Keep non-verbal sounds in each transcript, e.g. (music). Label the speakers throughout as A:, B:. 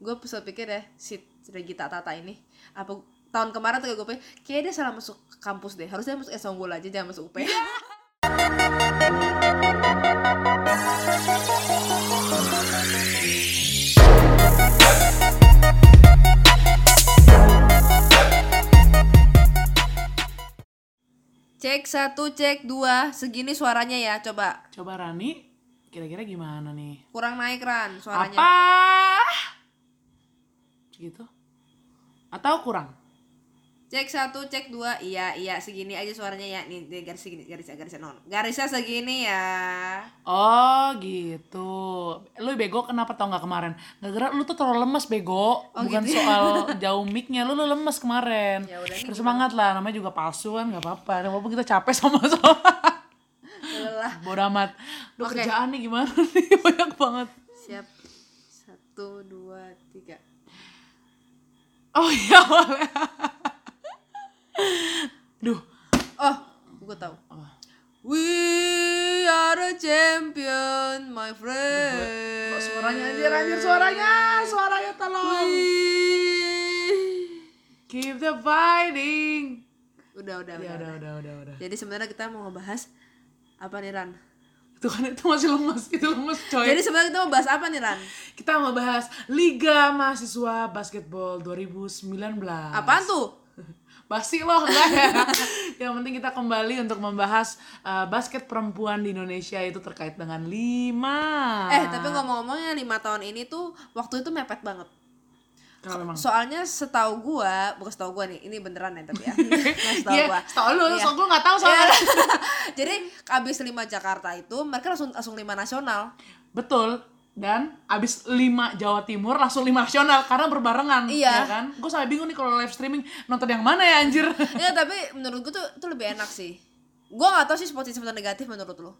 A: gue pusat pikir ya si Regita Tata ini apa tahun kemarin tuh kayak gue pikir kayak dia salah masuk kampus deh harusnya masuk S Unggul aja jangan masuk UP Cek satu, cek dua, segini suaranya ya, coba
B: Coba Rani, kira-kira gimana nih?
A: kurang naik Ran suaranya.
B: Apa? Gitu? Atau kurang?
A: Cek satu, cek dua, iya iya segini aja suaranya ya, nih nih, garis segini, garisnya garisnya non, garisnya segini ya.
B: Oh gitu. Lu bego kenapa tau nggak kemarin? Gara-gara lu tuh terlalu lemes bego. Bukan
A: (laughs)
B: soal jauh mic-nya, lu, lu lemes
A: Oh,
B: kemarin.
A: gitu Ya udah, ini
B: Bersemangat lah, namanya juga palsu kan nggak apa-apa. Walaupun kita capek sama-sama. (laughs)
A: Lelah.
B: Bodoh amat. Duh
A: Oke.
B: kerjaan nih gimana (laughs) nih? Banyak banget.
A: Siap. Satu, dua, tiga.
B: Oh iya boleh. (laughs) Duh.
A: Oh, gue tahu.
B: Apa?
A: We are the champion, my
B: Kok
A: friend.
B: suaranya anjir anjir suaranya. Suaranya tolong.
A: We-
B: Keep the fighting.
A: Udah, udah, udah.
B: Ya
A: Iya, udah.
B: udah udah udah udah.
A: Jadi sebenarnya kita mau ngebahas apa nih Ran?
B: Itu kan itu masih lemes, itu lemes coy.
A: Jadi sebenarnya kita mau bahas apa nih Ran?
B: Kita mau bahas Liga Mahasiswa Basketball 2019.
A: Apaan tuh?
B: Basi loh
A: (laughs)
B: enggak ya. Yang penting kita kembali untuk membahas uh, basket perempuan di Indonesia itu terkait dengan lima.
A: Eh tapi ngomong-ngomongnya lima tahun ini tuh waktu itu mepet banget.
B: Kenapa emang?
A: Soalnya setahu gua, bukan setahu gua nih, ini beneran ya tapi
B: (laughs)
A: ya. Nggak setahu
B: Iya,
A: gua.
B: setahu lu,
A: Iya. (laughs)
B: soal gue gak tahu soalnya.
A: Jadi abis lima Jakarta itu mereka langsung langsung lima nasional.
B: Betul. Dan abis 5 Jawa Timur langsung 5 nasional karena berbarengan,
A: Iya.
B: ya kan? Gue sampai bingung nih kalau live streaming nonton yang mana ya anjir. (laughs)
A: ya tapi menurut gua tuh itu lebih enak sih. Gua nggak tahu sih positif atau negatif menurut lu.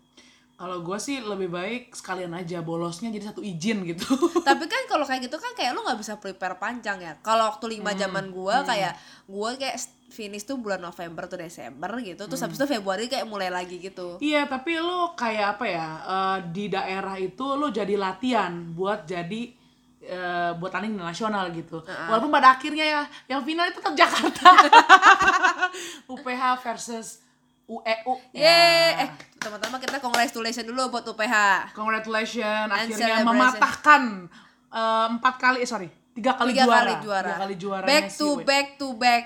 B: Kalau gue sih lebih baik sekalian aja bolosnya jadi satu izin gitu. (laughs)
A: tapi kan kalau kayak gitu kan kayak lu nggak bisa prepare panjang ya kalau waktu
B: Hmm,
A: lima zaman gua kayak gua kayak finish tuh bulan November tuh Desember gitu terus
B: Hmm.
A: habis itu Februari kayak mulai lagi gitu
B: Iya, tapi lu kayak apa ya? eh, di daerah itu lu jadi latihan buat jadi eh, buat tanding nasional gitu. Walaupun pada akhirnya ya yang final itu tetap Jakarta. (laughs) UPH versus E UEU.
A: Yeay, eh
B: Iya.
A: teman-teman kita congratulations dulu buat UPH
B: Congratulations akhirnya
A: celebration.
B: mematahkan eh, empat kali eh sorry, tiga kali
A: tiga
B: juara.
A: kali juara
B: Tiga kali juara.
A: back to back to back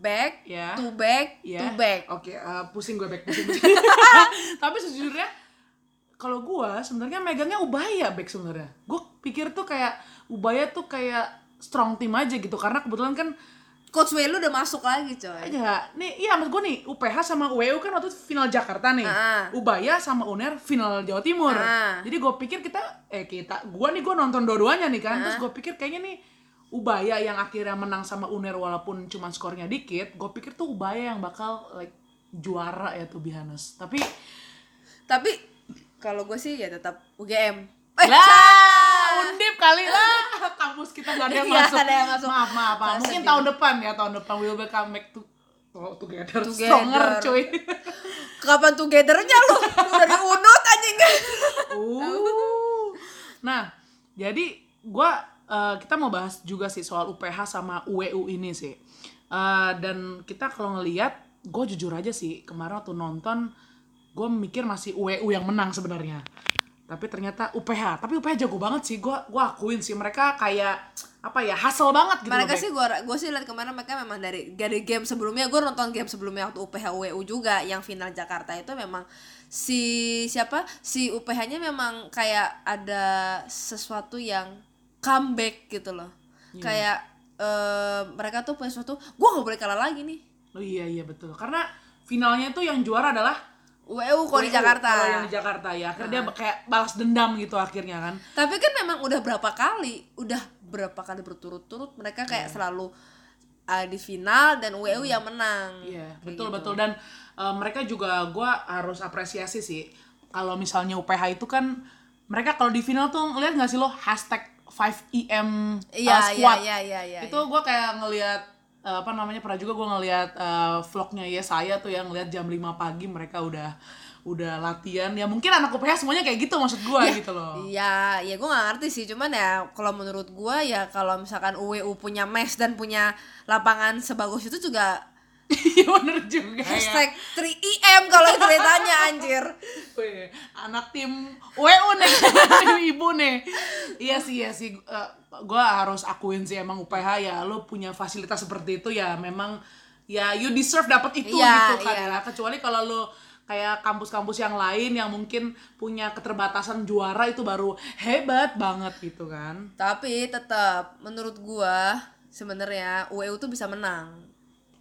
A: back
B: Ya.
A: to back to
B: Iya.
A: back
B: Oke, eh, pusing gue back pusing.
A: (laughs)
B: pusing. Tapi sejujurnya kalau gue sebenarnya megangnya Ubaya back sebenarnya. Gue pikir tuh kayak Ubaya tuh kayak strong team aja gitu karena kebetulan kan
A: coach Wei lu udah masuk lagi coy
B: aja nih iya maksud gue nih UPH sama UEU kan waktu itu final Jakarta nih
A: Ah.
B: Ubaya sama UNER final Jawa Timur
A: Ah.
B: jadi gue pikir kita eh kita gue nih gue nonton dua-duanya nih kan terus gue pikir kayaknya nih Ubaya yang akhirnya menang sama UNER walaupun cuma skornya dikit gue pikir tuh Ubaya yang bakal like juara ya tuh Bihanes tapi
A: tapi kalau gue sih ya tetap UGM eh,
B: lah undip kali lah (laughs) kampus kita nggak ada yang
A: Iya, Nggak
B: masuk.
A: ada yang masuk.
B: maaf maaf, maaf.
A: Saya
B: mungkin
A: sedih.
B: tahun depan ya tahun depan we will come back to oh, together,
A: Together.
B: stronger cuy (laughs)
A: kapan togethernya lu Lu udah diunut anjing
B: Uh. Nah, jadi gua eh, kita mau bahas juga sih soal UPH sama UEU ini sih. Eh, dan kita kalau ngelihat, gue jujur aja sih kemarin waktu nonton, gue mikir masih UEU yang menang sebenarnya. Tapi ternyata UPH, tapi UPH jago banget sih. Gua gua akuin sih mereka kayak apa ya, hasil banget gitu.
A: mereka
B: loh,
A: sih gua gua sih lihat kemarin mereka memang dari dari game sebelumnya gua nonton game sebelumnya waktu UPH WU juga yang final Jakarta itu memang si siapa si UPH-nya memang kayak ada sesuatu yang comeback gitu loh
B: Iya.
A: kayak eh, mereka tuh punya sesuatu gua nggak boleh kalah lagi nih
B: Beb. Oh iya iya betul. Karena finalnya tuh yang juara adalah
A: WU E kalau di
B: UEU.
A: Jakarta
B: E
A: Ah.
B: Kalau yang di Jakarta ya. Akhirnya dia kayak balas dendam gitu akhirnya kan.
A: tapi kan memang udah berapa kali udah berapa kali berturut-turut mereka kayak selalu ah, di final dan WU yang menang
B: Iya. Iya, betul
A: gitu.
B: betul dan uh, mereka juga gua harus apresiasi sih. Kalau misalnya UPH itu kan mereka kalau di final tuh ngeliat nggak sih lo hashtag 5EM uh,
A: Iya, iya,
B: squad.
A: iya, iya, iya.
B: itu gua kayak ngelihat uh, eh, apa namanya pernah juga gua ngelihat uh, vlognya ya saya tuh yang ngeliat jam 5 pagi mereka udah udah latihan ya mungkin anak UPH semuanya kayak gitu maksud gue
A: Iya.
B: gitu loh
A: Ya, ya gue gak ngerti sih. Cuman ya kalau menurut gue ya kalau misalkan UWU punya mes dan punya lapangan sebagus itu juga
B: (laughs) iya bener juga ya
A: hashtag 3IM kalau ceritanya anjir.
B: Weh, anak tim WU nih (laughs) tim ibu nih iya sih iya sih gue harus akuin sih emang UPH ya lo punya fasilitas seperti itu ya memang ya you deserve dapat itu
A: Iya,
B: gitu kan
A: iya.
B: ya kecuali kalau lo kayak kampus-kampus yang lain yang mungkin punya keterbatasan juara itu baru hebat banget gitu kan
A: Tapi tetap menurut gue sebenarnya UWU tuh bisa menang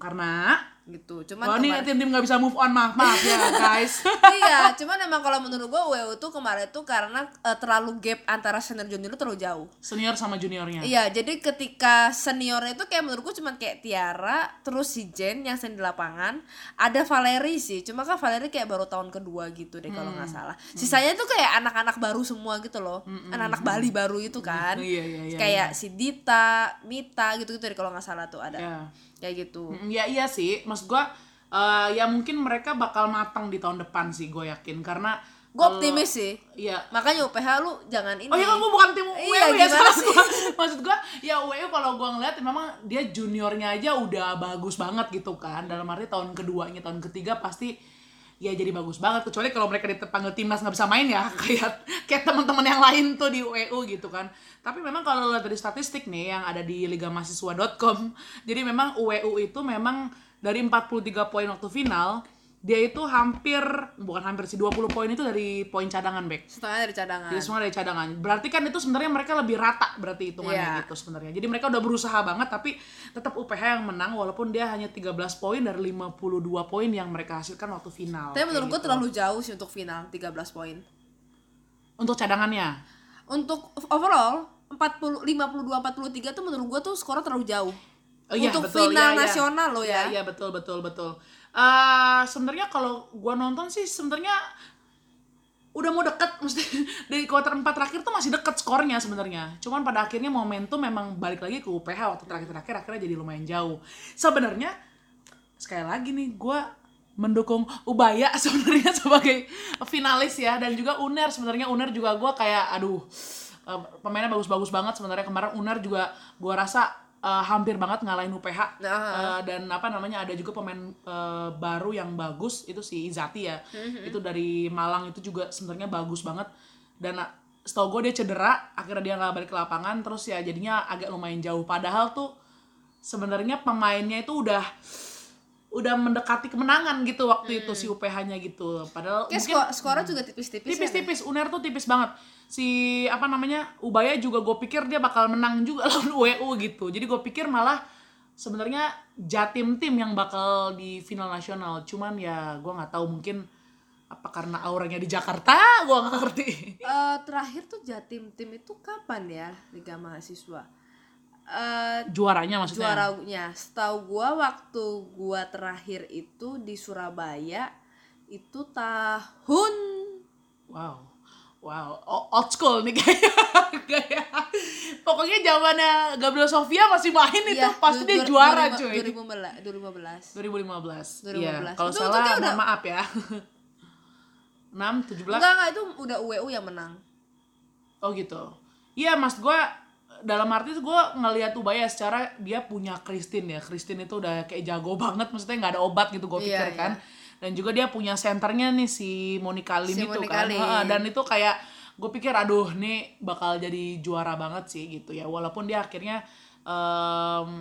B: karena
A: gitu. Cuman
B: kalau nih (laughs)
A: kemarin-
B: tim-tim nggak bisa move on maaf maaf ya
A: (laughs)
B: guys
A: iya, cuman emang kalau menurut gue WU tuh kemarin tuh karena eh, terlalu gap antara senior junior terlalu jauh.
B: senior sama juniornya
A: Iya, jadi ketika seniornya itu kayak menurutku cuman kayak Tiara, terus si Jen yang sering di lapangan, ada Valeri sih. Cuma kan Valeri kayak baru tahun kedua gitu deh kalau
B: Hmm.
A: nggak salah. Sisanya tuh kayak anak-anak baru semua gitu loh. Anak-anak Bali baru itu kan.
B: Iya, iya, iya,
A: kayak si Dita, Mita gitu-gitu deh kalau nggak salah tuh ada.
B: Ya.
A: Kayak gitu.
B: Mm, Ya iya sih, maksud gua eh, ya mungkin mereka bakal matang di tahun depan sih gue yakin karena
A: Gue optimis sih.
B: ya
A: Makanya UPH lu jangan ini.
B: Oh iya kan gue bukan tim UEU
A: Iya,
B: ya
A: gimana
B: salah
A: sih?
B: gua. Maksud gue ya UEU kalau gue ngeliat memang dia juniornya aja udah bagus banget gitu kan Dalam arti tahun keduanya, tahun ketiga pasti ya jadi bagus banget Kecuali kalau mereka dipanggil timnas nggak bisa main ya (laughs) Kayak kayak teman-teman yang lain tuh di UEU gitu kan Tapi memang kalau lihat dari statistik nih yang ada di ligamahasiswa.com Jadi memang UEU itu memang dari 43 poin waktu final dia itu hampir, bukan hampir sih, 20 poin itu dari poin cadangan, Bek.
A: Setengah dari cadangan.
B: Jadi Iya, semua dari cadangan. Berarti kan itu sebenarnya mereka lebih rata berarti hitungannya
A: Iya.
B: gitu sebenarnya. Jadi mereka udah berusaha banget tapi tetap UPH yang menang walaupun dia hanya 13 poin dari 52 poin yang mereka hasilkan waktu final.
A: Tapi menurut gue
B: Kayak gitu.
A: terlalu jauh sih untuk final 13 poin.
B: untuk cadangannya.
A: untuk overall 40 52 43 tuh menurut gua tuh skornya terlalu jauh.
B: Oh, iya,
A: untuk
B: betul.
A: final
B: Iya, iya.
A: nasional loh ya.
B: Iya betul betul betul. Eh sebenarnya kalau gua nonton sih sebenarnya udah mau deket (laughs) mesti dari kuarter 4 terakhir tuh masih deket skornya sebenarnya. Cuman pada akhirnya momentum memang balik lagi ke UPH waktu terakhir-terakhir akhirnya jadi lumayan jauh. Sebenarnya sekali lagi nih gua mendukung Ubaya (laughs) sebenarnya sebagai finalis ya dan juga Uner sebenarnya Uner juga gua kayak aduh eh, pemainnya bagus-bagus banget sebenarnya kemarin Uner juga gua rasa eh, hampir banget ngalahin UPH
A: Nah,
B: Eh, Uh, dan apa namanya ada juga pemain uh, baru yang bagus itu si Izati ya itu dari Malang itu juga sebenarnya bagus banget dan uh, setahu gue dia cedera akhirnya dia nggak balik ke lapangan terus ya jadinya agak lumayan jauh padahal tuh sebenarnya pemainnya itu udah udah mendekati kemenangan gitu waktu itu si UPH-nya gitu padahal
A: Hmm. Kayak
B: mungkin-
A: skor skornya juga tipis-tipis. ya, Nek?
B: tipis-tipis Uner tuh tipis banget si apa namanya Ubaya juga gue pikir dia bakal menang juga (laughs) lawan WU gitu jadi gue pikir malah sebenarnya Jatim tim yang bakal di final nasional cuman ya gue nggak tahu mungkin apa karena auranya di Jakarta gue nggak ngerti (laughs)
A: Eh, terakhir tuh Jatim tim itu kapan ya Liga Mahasiswa? Eh
B: juaranya maksudnya
A: juaranya setahu gua waktu gua terakhir itu di Surabaya itu tahun
B: Wow. Wow, O- old school nih (laughs) kayak kayak pokoknya zamannya Gabriel Sofia masih main itu
A: Iya,
B: pasti
A: du-
B: dia
A: du-
B: juara
A: 2015,
B: cuy.
A: 2015. 2015.
B: 2015. Iya, kalau
A: Itu- itu
B: salah
A: dia udah-
B: mohon maaf ya. (laughs) 6 17
A: Enggak enggak itu udah UWU yang menang.
B: Oh gitu. Iya, Mas gua dalam arti tuh gua ngelihat Ubaya secara dia punya Christine ya. Christine itu udah kayak jago banget maksudnya nggak ada obat gitu gue
A: Iya,
B: pikir kan. Dan juga dia punya senternya nih si Monica Lim
A: Si
B: itu
A: Monica
B: kan.
A: Lim.
B: Heeh, dan itu kayak gue pikir aduh nih bakal jadi juara banget sih gitu ya. Walaupun dia akhirnya em,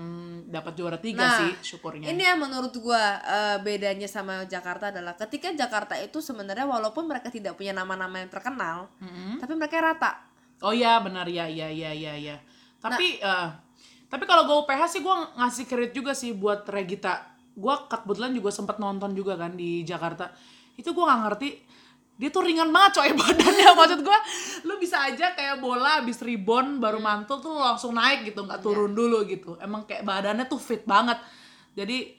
B: dapat juara tiga
A: Nah,
B: sih syukurnya.
A: Ini yang menurut gua eh, bedanya sama Jakarta adalah ketika Jakarta itu sebenarnya walaupun mereka tidak punya nama-nama yang terkenal, tapi mereka rata.
B: Oh iya benar ya ya ya ya ya. Tapi eh, tapi kalau gue UPH sih gue ngasih kredit juga sih buat Regita. Gue kebetulan juga sempat nonton juga kan di Jakarta. Itu gue nggak ngerti dia tuh ringan banget coy (laughs) badannya maksud gue lu bisa aja kayak bola habis rebound baru mantul tuh lu langsung naik gitu nggak turun dulu gitu emang kayak badannya tuh fit banget jadi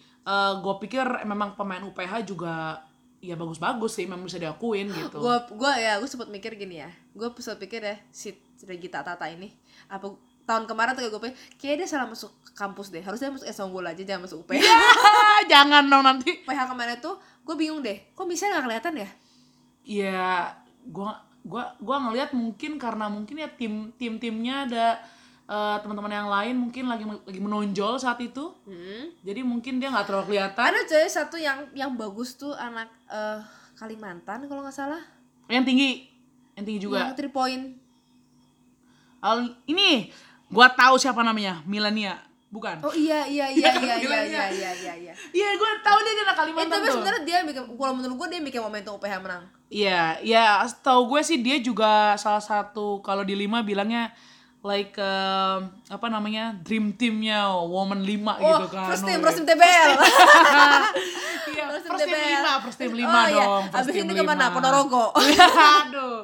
B: gue pikir memang pemain UPH juga ya bagus-bagus sih memang bisa diakuin gitu
A: (laughs) Gua gua ya gua sempat mikir gini ya. Gua sempat pikir ya si Regita Tata ini apa tahun kemarin tuh kayak gue pikir kayaknya dia salah masuk kampus deh. Harusnya masuk S Unggul aja jangan masuk
B: Iya.
A: UPH.
B: (laughs) jangan dong nanti
A: UPH kemarin tuh gue bingung deh. Kok bisa nggak kelihatan ya?
B: ya gua gua gua ngelihat mungkin karena mungkin ya tim tim timnya ada eh, teman-teman yang lain mungkin lagi lagi menonjol saat itu
A: Hmm.
B: jadi mungkin dia nggak terlalu kelihatan
A: Ada cewek satu yang yang bagus tuh anak eh, Kalimantan kalau nggak salah.
B: yang tinggi yang tinggi juga
A: Yang three point.
B: Al- ini gua tahu siapa namanya Milania bukan
A: Oh iya iya iya
B: kan,
A: iya iya
B: bilangnya.
A: iya iya iya. iya.
B: iya gua tahu dia dia anak
A: Eh,
B: Kalimantan
A: tapi
B: tuh
A: sebenarnya dia yang bikin kalau menurut gue dia yang bikin momentum UPH menang.
B: Iya, ya setahu gue sih dia juga salah satu kalau di lima bilangnya like um, apa namanya dream teamnya woman lima
A: Oh,
B: gitu kan.
A: first team, (laughs)
B: weh.
A: first team TBL.
B: Iya,
A: First team
B: first team
A: TBL.
B: lima, first team
A: Oh,
B: lima
A: iya.
B: dong. first
A: Abis
B: team
A: ini kemana?
B: lima. Iya,
A: Ponorogo.
B: Aduh,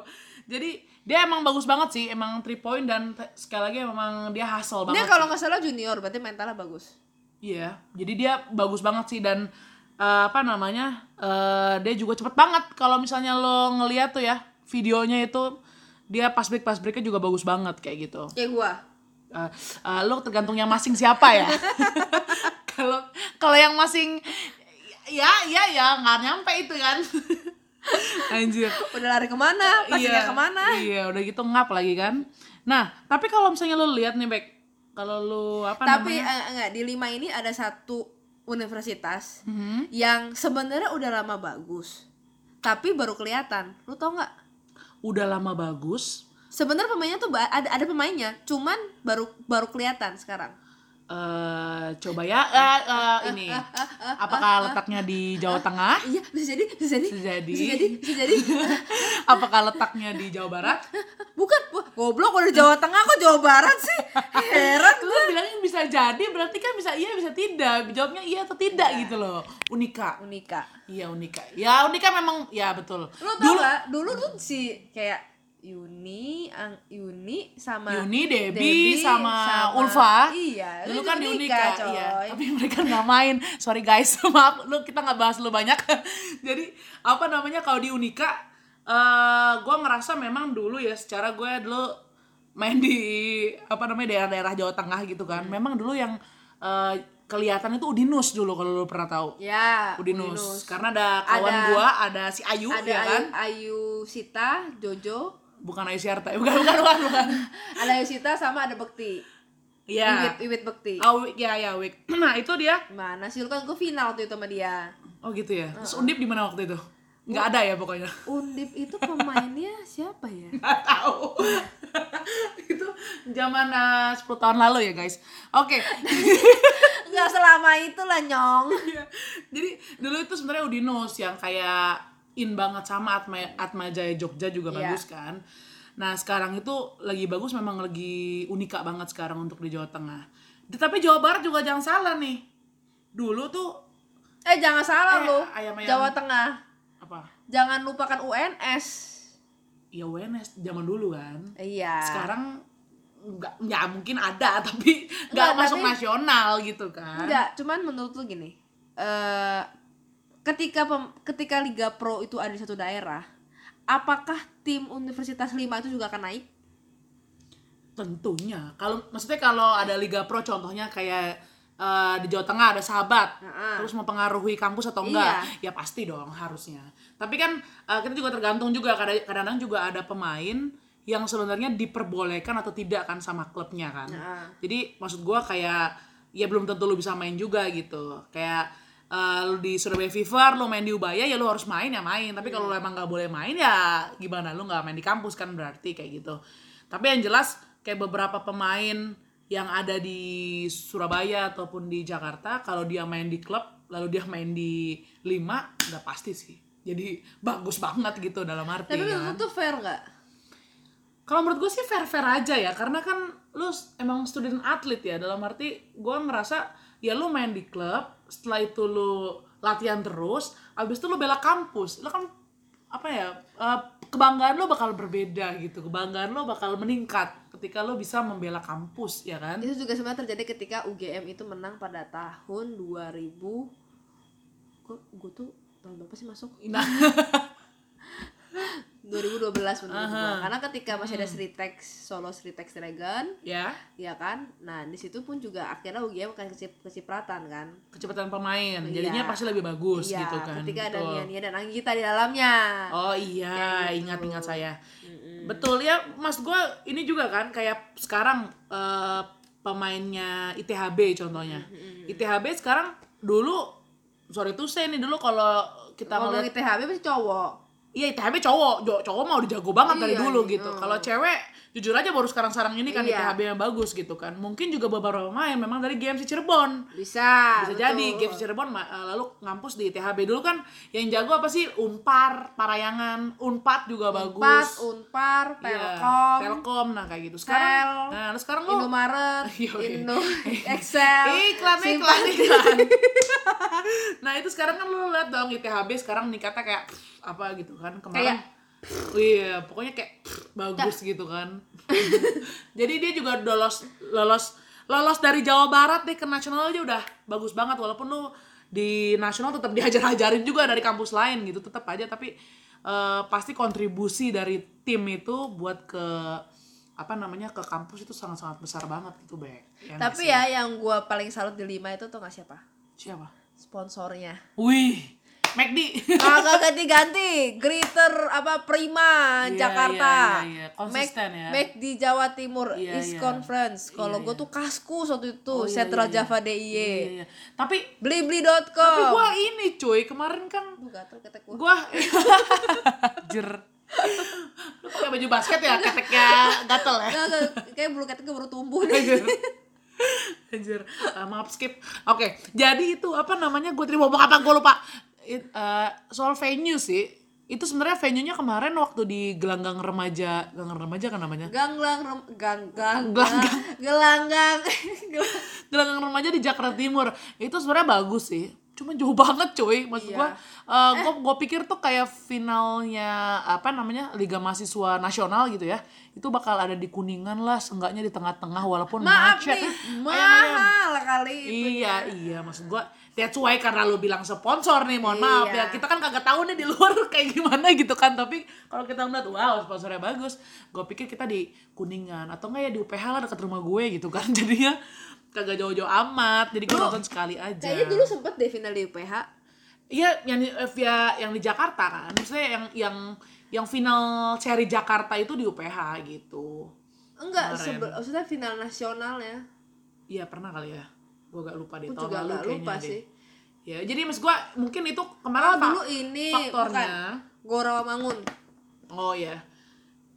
B: jadi dia emang bagus banget sih, emang three point dan te- sekali lagi emang dia hustle
A: dia
B: banget.
A: kalau nggak salah junior, berarti mentalnya bagus.
B: Iya, jadi dia bagus banget sih dan eh, apa namanya eh, dia juga cepet banget kalau misalnya lo ngeliat tuh ya videonya itu dia pas break pas breaknya juga bagus banget kayak gitu.
A: Kayak Ya, gua.
B: Eh, eh, lo tergantung yang masing siapa (laughs) ya. Kalau kalau yang masing ya ya ya nggak nyampe itu kan. Anjir.
A: Udah lari kemana? Pastinya kemana?
B: Iya, udah gitu ngap lagi kan. Nah, tapi kalau misalnya lo lihat nih, Bek, kalau lo apa
A: Tapi
B: namanya?
A: eh, enggak di lima ini ada satu universitas
B: Mm-hmm.
A: yang sebenarnya udah lama bagus, tapi baru kelihatan. Lu tau nggak?
B: Udah lama bagus,
A: Sebenarnya pemainnya tuh ba- ada ada pemainnya, cuman baru baru kelihatan sekarang.
B: eh coba ya eh, eh, ini apakah letaknya di Jawa (laughs) Tengah
A: Iya, bisa jadi, bisa jadi,
B: Bisa jadi.
A: bisa jadi, bisa jadi.
B: apakah letaknya di Jawa Barat
A: Bukan, wah, goblok udah Jawa Tengah kok Jawa Barat sih? Heran
B: lu Kan bilangnya bisa jadi berarti kan bisa iya bisa tidak jawabnya iya atau tidak gitu loh unika
A: Unika.
B: iya unika ya unika memang ya betul
A: Lu tau dulu, gak? Dulu tuh si kayak Yuni, Ang, Yuni sama
B: Yuni, Debbie, sama, Ulfa.
A: Iya,
B: Dulu
A: itu
B: kan di Unika,
A: coy.
B: iya. Tapi (laughs) mereka nggak main. Sorry guys, (laughs) maaf lu kita nggak bahas lu banyak. (laughs) Jadi apa namanya kalau di Unika eh gue ngerasa memang dulu ya secara gue dulu main di apa namanya daerah-daerah Jawa Tengah gitu kan. Memang dulu yang eh, kelihatan itu Udinus dulu kalau lu pernah tahu.
A: Ya,
B: Udinus. Karena ada kawan
A: Ada-
B: gue, ada si Ayu
A: Ada
B: ya kan.
A: Ayu, Ayu Sita, Jojo, (laughs)
B: Bukan Ayu Siarta. (laughs) Bukan, bukan, bukan, bukan.
A: ada Ayu Sita sama ada Bekti. Iwit,
B: Iya.
A: Iwit Bekti.
B: Awik ya ya Awik. (clears throat) Nah, itu dia
A: Mana sih lu kan gue final tuh itu sama dia.
B: Oh gitu ya.
A: Uh-uh.
B: Terus Undip di mana waktu itu? Nggak ada ya pokoknya. (laughs)
A: Undip itu pemainnya siapa ya?
B: Nggak tahu. (laughs) itu zaman eh, 10 tahun lalu ya guys. Oke.
A: Enggak selama itulah nyong.
B: Iya. Jadi dulu itu sebenarnya Udinus yang kayak in banget sama Atma Atma Jaya Jogja juga
A: Iya.
B: bagus kan. Nah sekarang itu lagi bagus memang lagi unika banget sekarang untuk di Jawa Tengah. Di- Tapi Jawa Barat juga jangan salah nih. Dulu tuh
A: Eh jangan salah
B: Eh,
A: lu.
B: ayam-ayam.
A: Jawa Tengah.
B: apa?
A: Jangan lupakan UNS.
B: Ya WNS zaman dulu kan.
A: Iya.
B: sekarang nggak nggak mungkin ada (laughs) tapi nggak
A: Nggak,
B: masuk
A: tapi-
B: nasional gitu kan
A: Enggak, cuman menurut lu gini. eh ketika pem- ketika Liga Pro itu ada di satu daerah, apakah tim Universitas 5 itu juga akan naik?
B: tentunya kalau maksudnya kalau ada liga pro contohnya kayak eh, di Jawa Tengah ada sahabat
A: Heeh. Iya.
B: terus mempengaruhi kampus atau enggak ya pasti dong harusnya tapi kan eh, kita juga tergantung juga kadang- kadang-kadang juga ada pemain yang sebenarnya diperbolehkan atau tidak kan sama klubnya kan
A: Heeh.
B: jadi maksud gua kayak ya belum tentu lu bisa main juga gitu kayak eh, lu di Surabaya Fever lu main di Ubaya ya lu harus main ya main tapi
A: Iya.
B: kalau lu emang nggak boleh main ya gimana lu nggak main di kampus kan berarti kayak gitu tapi yang jelas kayak beberapa pemain yang ada di Surabaya ataupun di Jakarta kalau dia main di klub lalu dia main di lima udah pasti sih jadi bagus banget gitu dalam arti
A: Tapi menurut lu
B: kan.
A: tuh fair nggak?
B: Kalau menurut gue sih fair-fair aja ya, karena kan lu s- emang student atlet ya, dalam arti gue ngerasa ya lu main di klub, setelah itu lu latihan terus, abis itu lu bela kampus, lu kan apa ya, eh, kebanggaan lu bakal berbeda gitu, kebanggaan lu bakal meningkat ketika lu bisa membela kampus ya kan.
A: Itu juga sebenarnya terjadi ketika UGM itu menang pada tahun 2000 Iya. Kok gue tuh tahun berapa sih masuk?
B: Nah,
A: 2012 menurut gua.
B: Aha. Hmm.
A: Karena ketika masih ada Sritex Solo Sritex Dragon,
B: ya
A: ya kan? Nah, di situ pun juga akhirnya UGM akan kecip- kecipratan kan.
B: kecepatan pemain
A: Iya.
B: jadinya pasti lebih bagus
A: Iya,
B: gitu kan
A: ketika ada
B: Betul.
A: Nia-Nia dan Anggita di dalamnya.
B: Oh iya,
A: Kayak gitu.
B: ingat-ingat saya. Betul ya, Mas gua ini juga kan kayak sekarang eh, pemainnya ITHB contohnya. ITHB sekarang dulu sorry tuh saya nih dulu kalau kita
A: Kalau
B: ngeliat
A: ITHB pasti cowok.
B: iya ITHB cowok, Jo- cowok mau dijago banget dari
A: Iya,
B: dulu
A: iya.
B: gitu. Kalau cewek jujur aja baru sekarang-sarang ini kan
A: Iya.
B: ITHB yang bagus gitu kan. Mungkin juga beberapa pemain memang dari GMC Cirebon.
A: Bisa.
B: Bisa
A: Ah, betul.
B: jadi Games Cirebon ma- eh, lalu ngampus di ITHB dulu kan yang jago apa sih Unpar, Parayangan, Unpad juga
A: Unpad,
B: bagus.
A: Unpar,
B: Iya,
A: Telkom,
B: Telkom nah kayak gitu. Sekarang
A: Tel,
B: nah lu sekarang lu (laughs)
A: Indomaret,
B: Iya, oke.
A: Indo, Excel,
B: iklan iklan
A: Simpati.
B: iklan. (laughs) nah itu sekarang kan lu lihat dong ITHB sekarang nikahnya kayak pff, apa gitu kan kemarin.
A: Kayak,
B: Iya, pokoknya kayak pff, bagus gitu kan. (laughs) Jadi dia juga lolos lolos lolos dari Jawa Barat deh ke nasional aja udah bagus banget walaupun lu di nasional tetap diajar-ajarin juga dari kampus lain gitu tetap aja tapi eh, pasti kontribusi dari tim itu buat ke apa namanya ke kampus itu sangat-sangat besar banget gitu Bek. Ya nggak
A: Tapi
B: sih?
A: ya yang gua paling salut di lima itu tuh nggak siapa?
B: siapa?
A: Sponsornya.
B: Wih, McD.
A: Ah, Kagak ganti-ganti, Greater apa Prima
B: Iya,
A: Jakarta.
B: iya, iya, iya. Konsisten
A: Mac-
B: ya.
A: Mac di Jawa Timur
B: Iya,
A: East
B: iya.
A: Conference. Kalau
B: Iya,
A: gua tuh Kaskus waktu itu,
B: iya,
A: Central
B: iya, iya.
A: Java DIY.
B: Iya, iya. Tapi tapi
A: Blibli.com.
B: gua ini cuy, kemarin kan
A: Duh, gatel ketek gua.
B: gua jer lu pakai baju basket ya keteknya gatel ya
A: Nggak, nggak, kayak bulu ketek gua baru tumbuh nih.
B: Anjir. Anjir. Ah, maaf skip. Oke, jadi itu apa namanya? Gue terima ngomong apa? Gue lupa. It, eh, soal venue sih. Itu sebenarnya venue-nya kemarin waktu di gelanggang remaja, gelanggang remaja kan namanya.
A: Ganglang rem- gang gang gang
B: Gelanggang. (laughs)
A: gelanggang.
B: Gelanggang remaja di Jakarta Timur. Itu sebenarnya bagus sih. Cuma jauh (laughs) banget cuy. Maksud
A: Iya.
B: gua gue pikir tuh kayak finalnya apa namanya? Liga Mahasiswa Nasional gitu ya. Itu bakal ada di Kuningan lah, seenggaknya di tengah-tengah walaupun
A: Maaf
B: macet. Iya,
A: nih,
B: Ayam-ayam.
A: mahal kali itu.
B: Iya, iya maksud gua that's why karena lu bilang sponsor nih, mohon maaf ya.
A: Iya.
B: Kita kan kagak tahu nih di luar (laughs) kayak gimana gitu kan, tapi kalau kita ngeliat wow sponsornya bagus, gua pikir kita di Kuningan atau enggak ya di UPH lah dekat rumah gue gitu kan. (laughs) Jadinya kagak jauh-jauh amat. Jadi gua nonton sekali aja.
A: Oh, Kayaknya dulu sempet deh final di UPH.
B: Iya, yang di, eh, via- yang di Jakarta kan. Maksudnya yang yang yang final seri Jakarta itu di UPH gitu.
A: Enggak,
B: Kemarin.
A: sebe- maksudnya final nasionalnya.
B: Iya pernah kali ya. Gue gak lupa deh.
A: Aku
B: Tahun
A: juga
B: lalu
A: gak
B: kayaknya
A: lupa
B: deh.
A: sih.
B: Ya, jadi mas gue mungkin itu kemarin
A: Oh,
B: apa?
A: dulu ini
B: faktornya.
A: bukan Gorawamangun
B: Oh ya.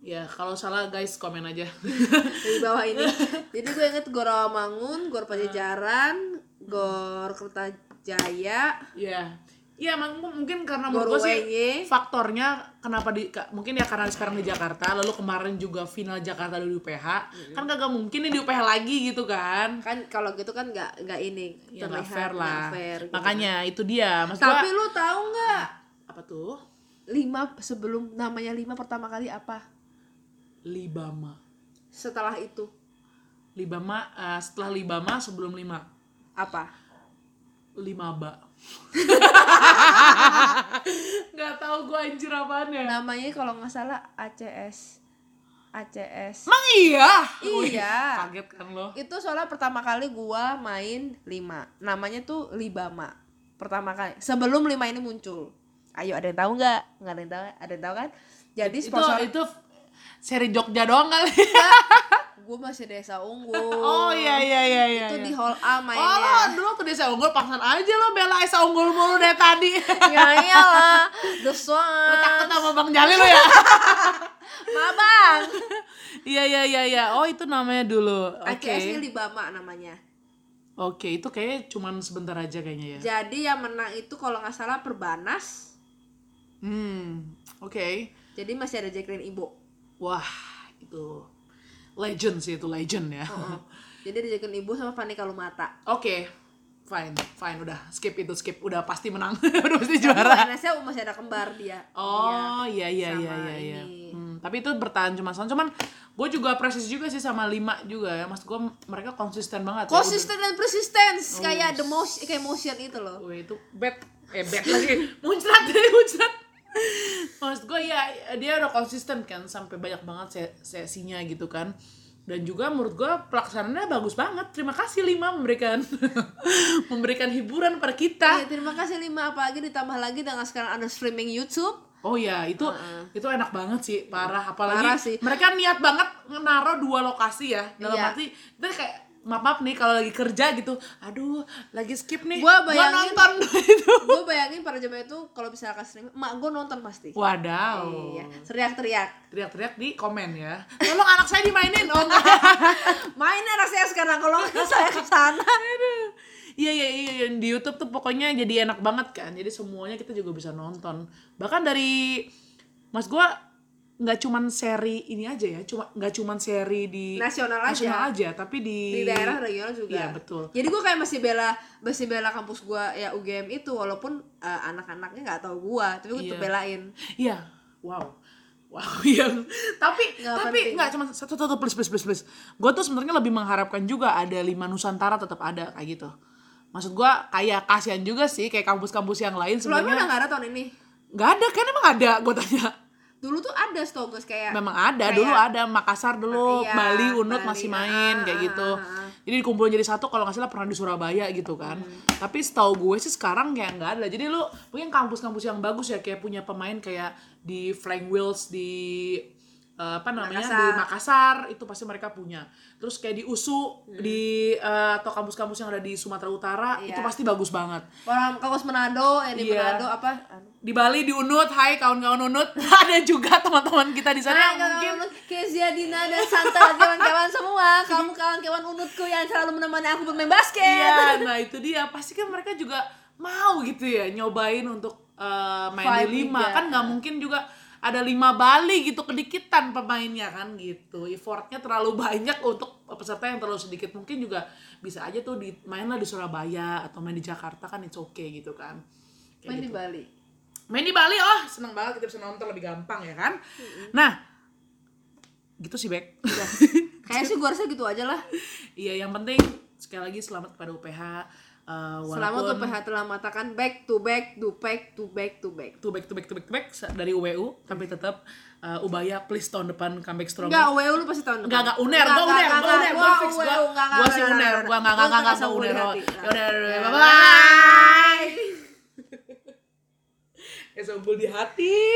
B: Ya, kalau salah guys komen aja. (laughs)
A: di bawah (laughs) ini. Jadi gue inget Gorawamangun, Gor Pajajaran, Gor Kertajaya,
B: Iya. Iya, emang mu- mungkin karena
A: Gor
B: menurut gue sih
A: WY.
B: faktornya kenapa di ka- mungkin ya karena sekarang di Jakarta, lalu kemarin juga final Jakarta dulu di UPH. Kan kagak mungkin nih di UPH lagi gitu kan.
A: Kan kalau gitu kan nggak nggak ini
B: Ya
A: terlihat
B: nggak fair
A: nggak
B: lah.
A: fair gitu.
B: Makanya itu dia. Mas gua-
A: Tapi lu tahu nggak
B: apa tuh?
A: lima sebelum namanya lima pertama kali apa?
B: Libama.
A: Setelah itu
B: Libama eh, setelah Libama sebelum lima.
A: apa?
B: Limaba. (laughs) Nggak tahu gue anjir apaan ya.
A: Namanya kalau nggak salah ACS. ACS.
B: Emang iya? Wih,
A: Iya.
B: kaget kan lo?
A: itu soalnya pertama kali gua main lima namanya tuh libama pertama kali sebelum lima ini muncul ayo ada yang tahu nggak nggak ada yang tahu ada yang tahu kan jadi
B: Itu
A: sponsor (laughs)
B: itu seri Jogja doang kali.
A: gue masih desa unggul
B: (laughs) Oh iya iya iya iya.
A: itu
B: iya.
A: di hall A
B: Oh lo
A: mainnya
B: dulu tuh desa unggul pangsan aja lo bela Esa unggul mulu dari (laughs) tadi.
A: ya (laughs) iyalah the
B: Lo
A: swan
B: takut sama Bang Jali lo ya?
A: mabang
B: (laughs) Iya iya iya iya. Oh itu namanya dulu. Oke.
A: ACS nya libama namanya
B: Oke itu kayaknya cuman sebentar aja kayaknya ya.
A: jadi yang menang itu kalau nggak salah perbanas
B: Hmm. Oke.
A: jadi masih ada Jacqueline (laughs) Ibo
B: Wah itu legend sih itu legend ya.
A: Heeh. jadi ada Jacqueline Ibo sama Fanny Kalumata
B: (laughs) Oke, fine, fine, udah skip itu skip, udah pasti menang, (laughs) udah pasti juara.
A: UNS-nya masih ada kembar dia
B: Oh iya iya iya
A: Sama
B: iya. iya.
A: ini.
B: Hmm, tapi itu bertahan cuma setahun, cuman gue juga presis juga sih sama lima juga ya, mas gue mereka konsisten banget. ya.
A: konsisten dan
B: Oh,
A: persistence kayak the most kayak motion itu loh
B: (laughs) Udah- Wih, itu bad, eh bad lagi, muncrat deh muncrat. maksud gue ya dia udah konsisten kan sampai banyak banget se- sesinya gitu kan dan juga menurut gue pelaksanaannya bagus banget terima kasih lima memberikan (laughs) memberikan hiburan pada kita
A: Ya, terima kasih lima apalagi ditambah lagi dengan sekarang ada streaming YouTube.
B: Oh ya, itu itu enak banget sih, parah apalagi
A: Parah sih.
B: mereka niat banget naro dua lokasi ya. Dalam
A: Iya.
B: arti itu kayak maaf maaf nih kalau lagi kerja gitu, aduh lagi skip nih.
A: Gua bayangin-
B: nonton (laughs) itu.
A: gue bayangin para jemaah itu kalau misalkan streaming, mak gue nonton pasti.
B: Wadaw.
A: Iya, teriak-teriak.
B: Teriak-teriak di komen ya. Tolong anak saya dimainin. Oh
A: (laughs)
B: enggak.
A: Main anak saya sekarang kalau nggak saya ke sana.
B: Iya iya iya iya. di YouTube tuh pokoknya jadi enak banget kan. Jadi semuanya kita juga bisa nonton. Bahkan dari Mas gua nggak cuman seri ini aja ya, cuma nggak cuman seri di
A: Nasional aja.
B: nasional aja, tapi di
A: Di daerah regional juga.
B: Iya, betul.
A: Jadi gue kayak masih bela masih bela kampus gue ya UGM itu walaupun eh, anak-anaknya nggak tahu gue, tapi gue tetep
B: Iya.
A: belain.
B: Iya, wow. Wow, (laughs) yang tapi
A: Nggak
B: tapi
A: penting.
B: nggak cuma satu satu please please please please. Gue tuh sebenarnya lebih mengharapkan juga ada lima nusantara tetap ada kayak gitu. Maksud gua kayak kasihan juga sih kayak kampus-kampus yang lain
A: Sebelumnya udah
B: sebenarnya
A: nggak ada tahun ini.
B: nggak ada kan emang ada gue tanya
A: Dulu tuh ada setau gue kayak
B: memang ada
A: kayak-
B: dulu ada Makassar dulu
A: Iya,
B: Bali Unut
A: Bali,
B: masih main
A: ah,
B: kayak
A: ah,
B: gitu
A: ah, ah. Hmm.
B: jadi dikumpulin jadi satu kalau nggak salah pernah di Surabaya gitu kan tapi setahu gue sih sekarang kayak nggak ada jadi lu mungkin kampus-kampus yang bagus ya kayak punya pemain kayak di Flying Wheels di eh, apa namanya di
A: Makassar.
B: Makassar itu pasti mereka punya terus kayak di USU di eh, atau kampus-kampus yang ada di Sumatera Utara
A: Hmm. Iya.
B: itu pasti bagus banget
A: orang kampus Manado yang di
B: Iya.
A: Manado apa?
B: di Bali di Unut, hai kawan-kawan Unut, (laughs) ada juga teman-teman kita di sana
A: Nah,
B: yang mungkin
A: kawan-kawan Kezia, Dina, dan Santa, kawan-kawan semua Kamu kawan-kawan unutku yang selalu menemani aku bermain basket (laughs)
B: Iya, nah itu dia. Pasti kan mereka juga mau gitu ya nyobain untuk eh, main
A: Vibe
B: di lima.
A: liga.
B: Kan nggak mungkin juga ada lima Bali gitu kedikitan pemainnya kan gitu. Effortnya terlalu banyak untuk peserta yang terlalu sedikit. Mungkin juga bisa aja tuh di, mainlah di Surabaya atau main di Jakarta kan it's okay gitu kan. Kayak
A: Main
B: gitu.
A: di Bali
B: Main di Bali, oh seneng banget kita bisa nonton lebih gampang ya kan. Nah, gitu sih Bek.
A: Kayaknya sih gue rasa gitu aja lah
B: (laughs) Iya, yang penting sekali lagi selamat kepada UPH. eh,
A: Selama
B: walaupun-
A: tuh PH telah mengatakan back to back to back to back to back
B: to back to back to back to back sa- dari UWU tapi tetap uh, Ubaya please tahun depan comeback strong
A: Enggak, WU lu pasti tahun depan
B: Enggak, enggak, uner, gua uner, gua uner, gua fix, gua, gua sih uner, gua enggak, enggak, enggak, gua uner, oh. ya udah, udah, udah, bye-bye, ya, sombong di hati.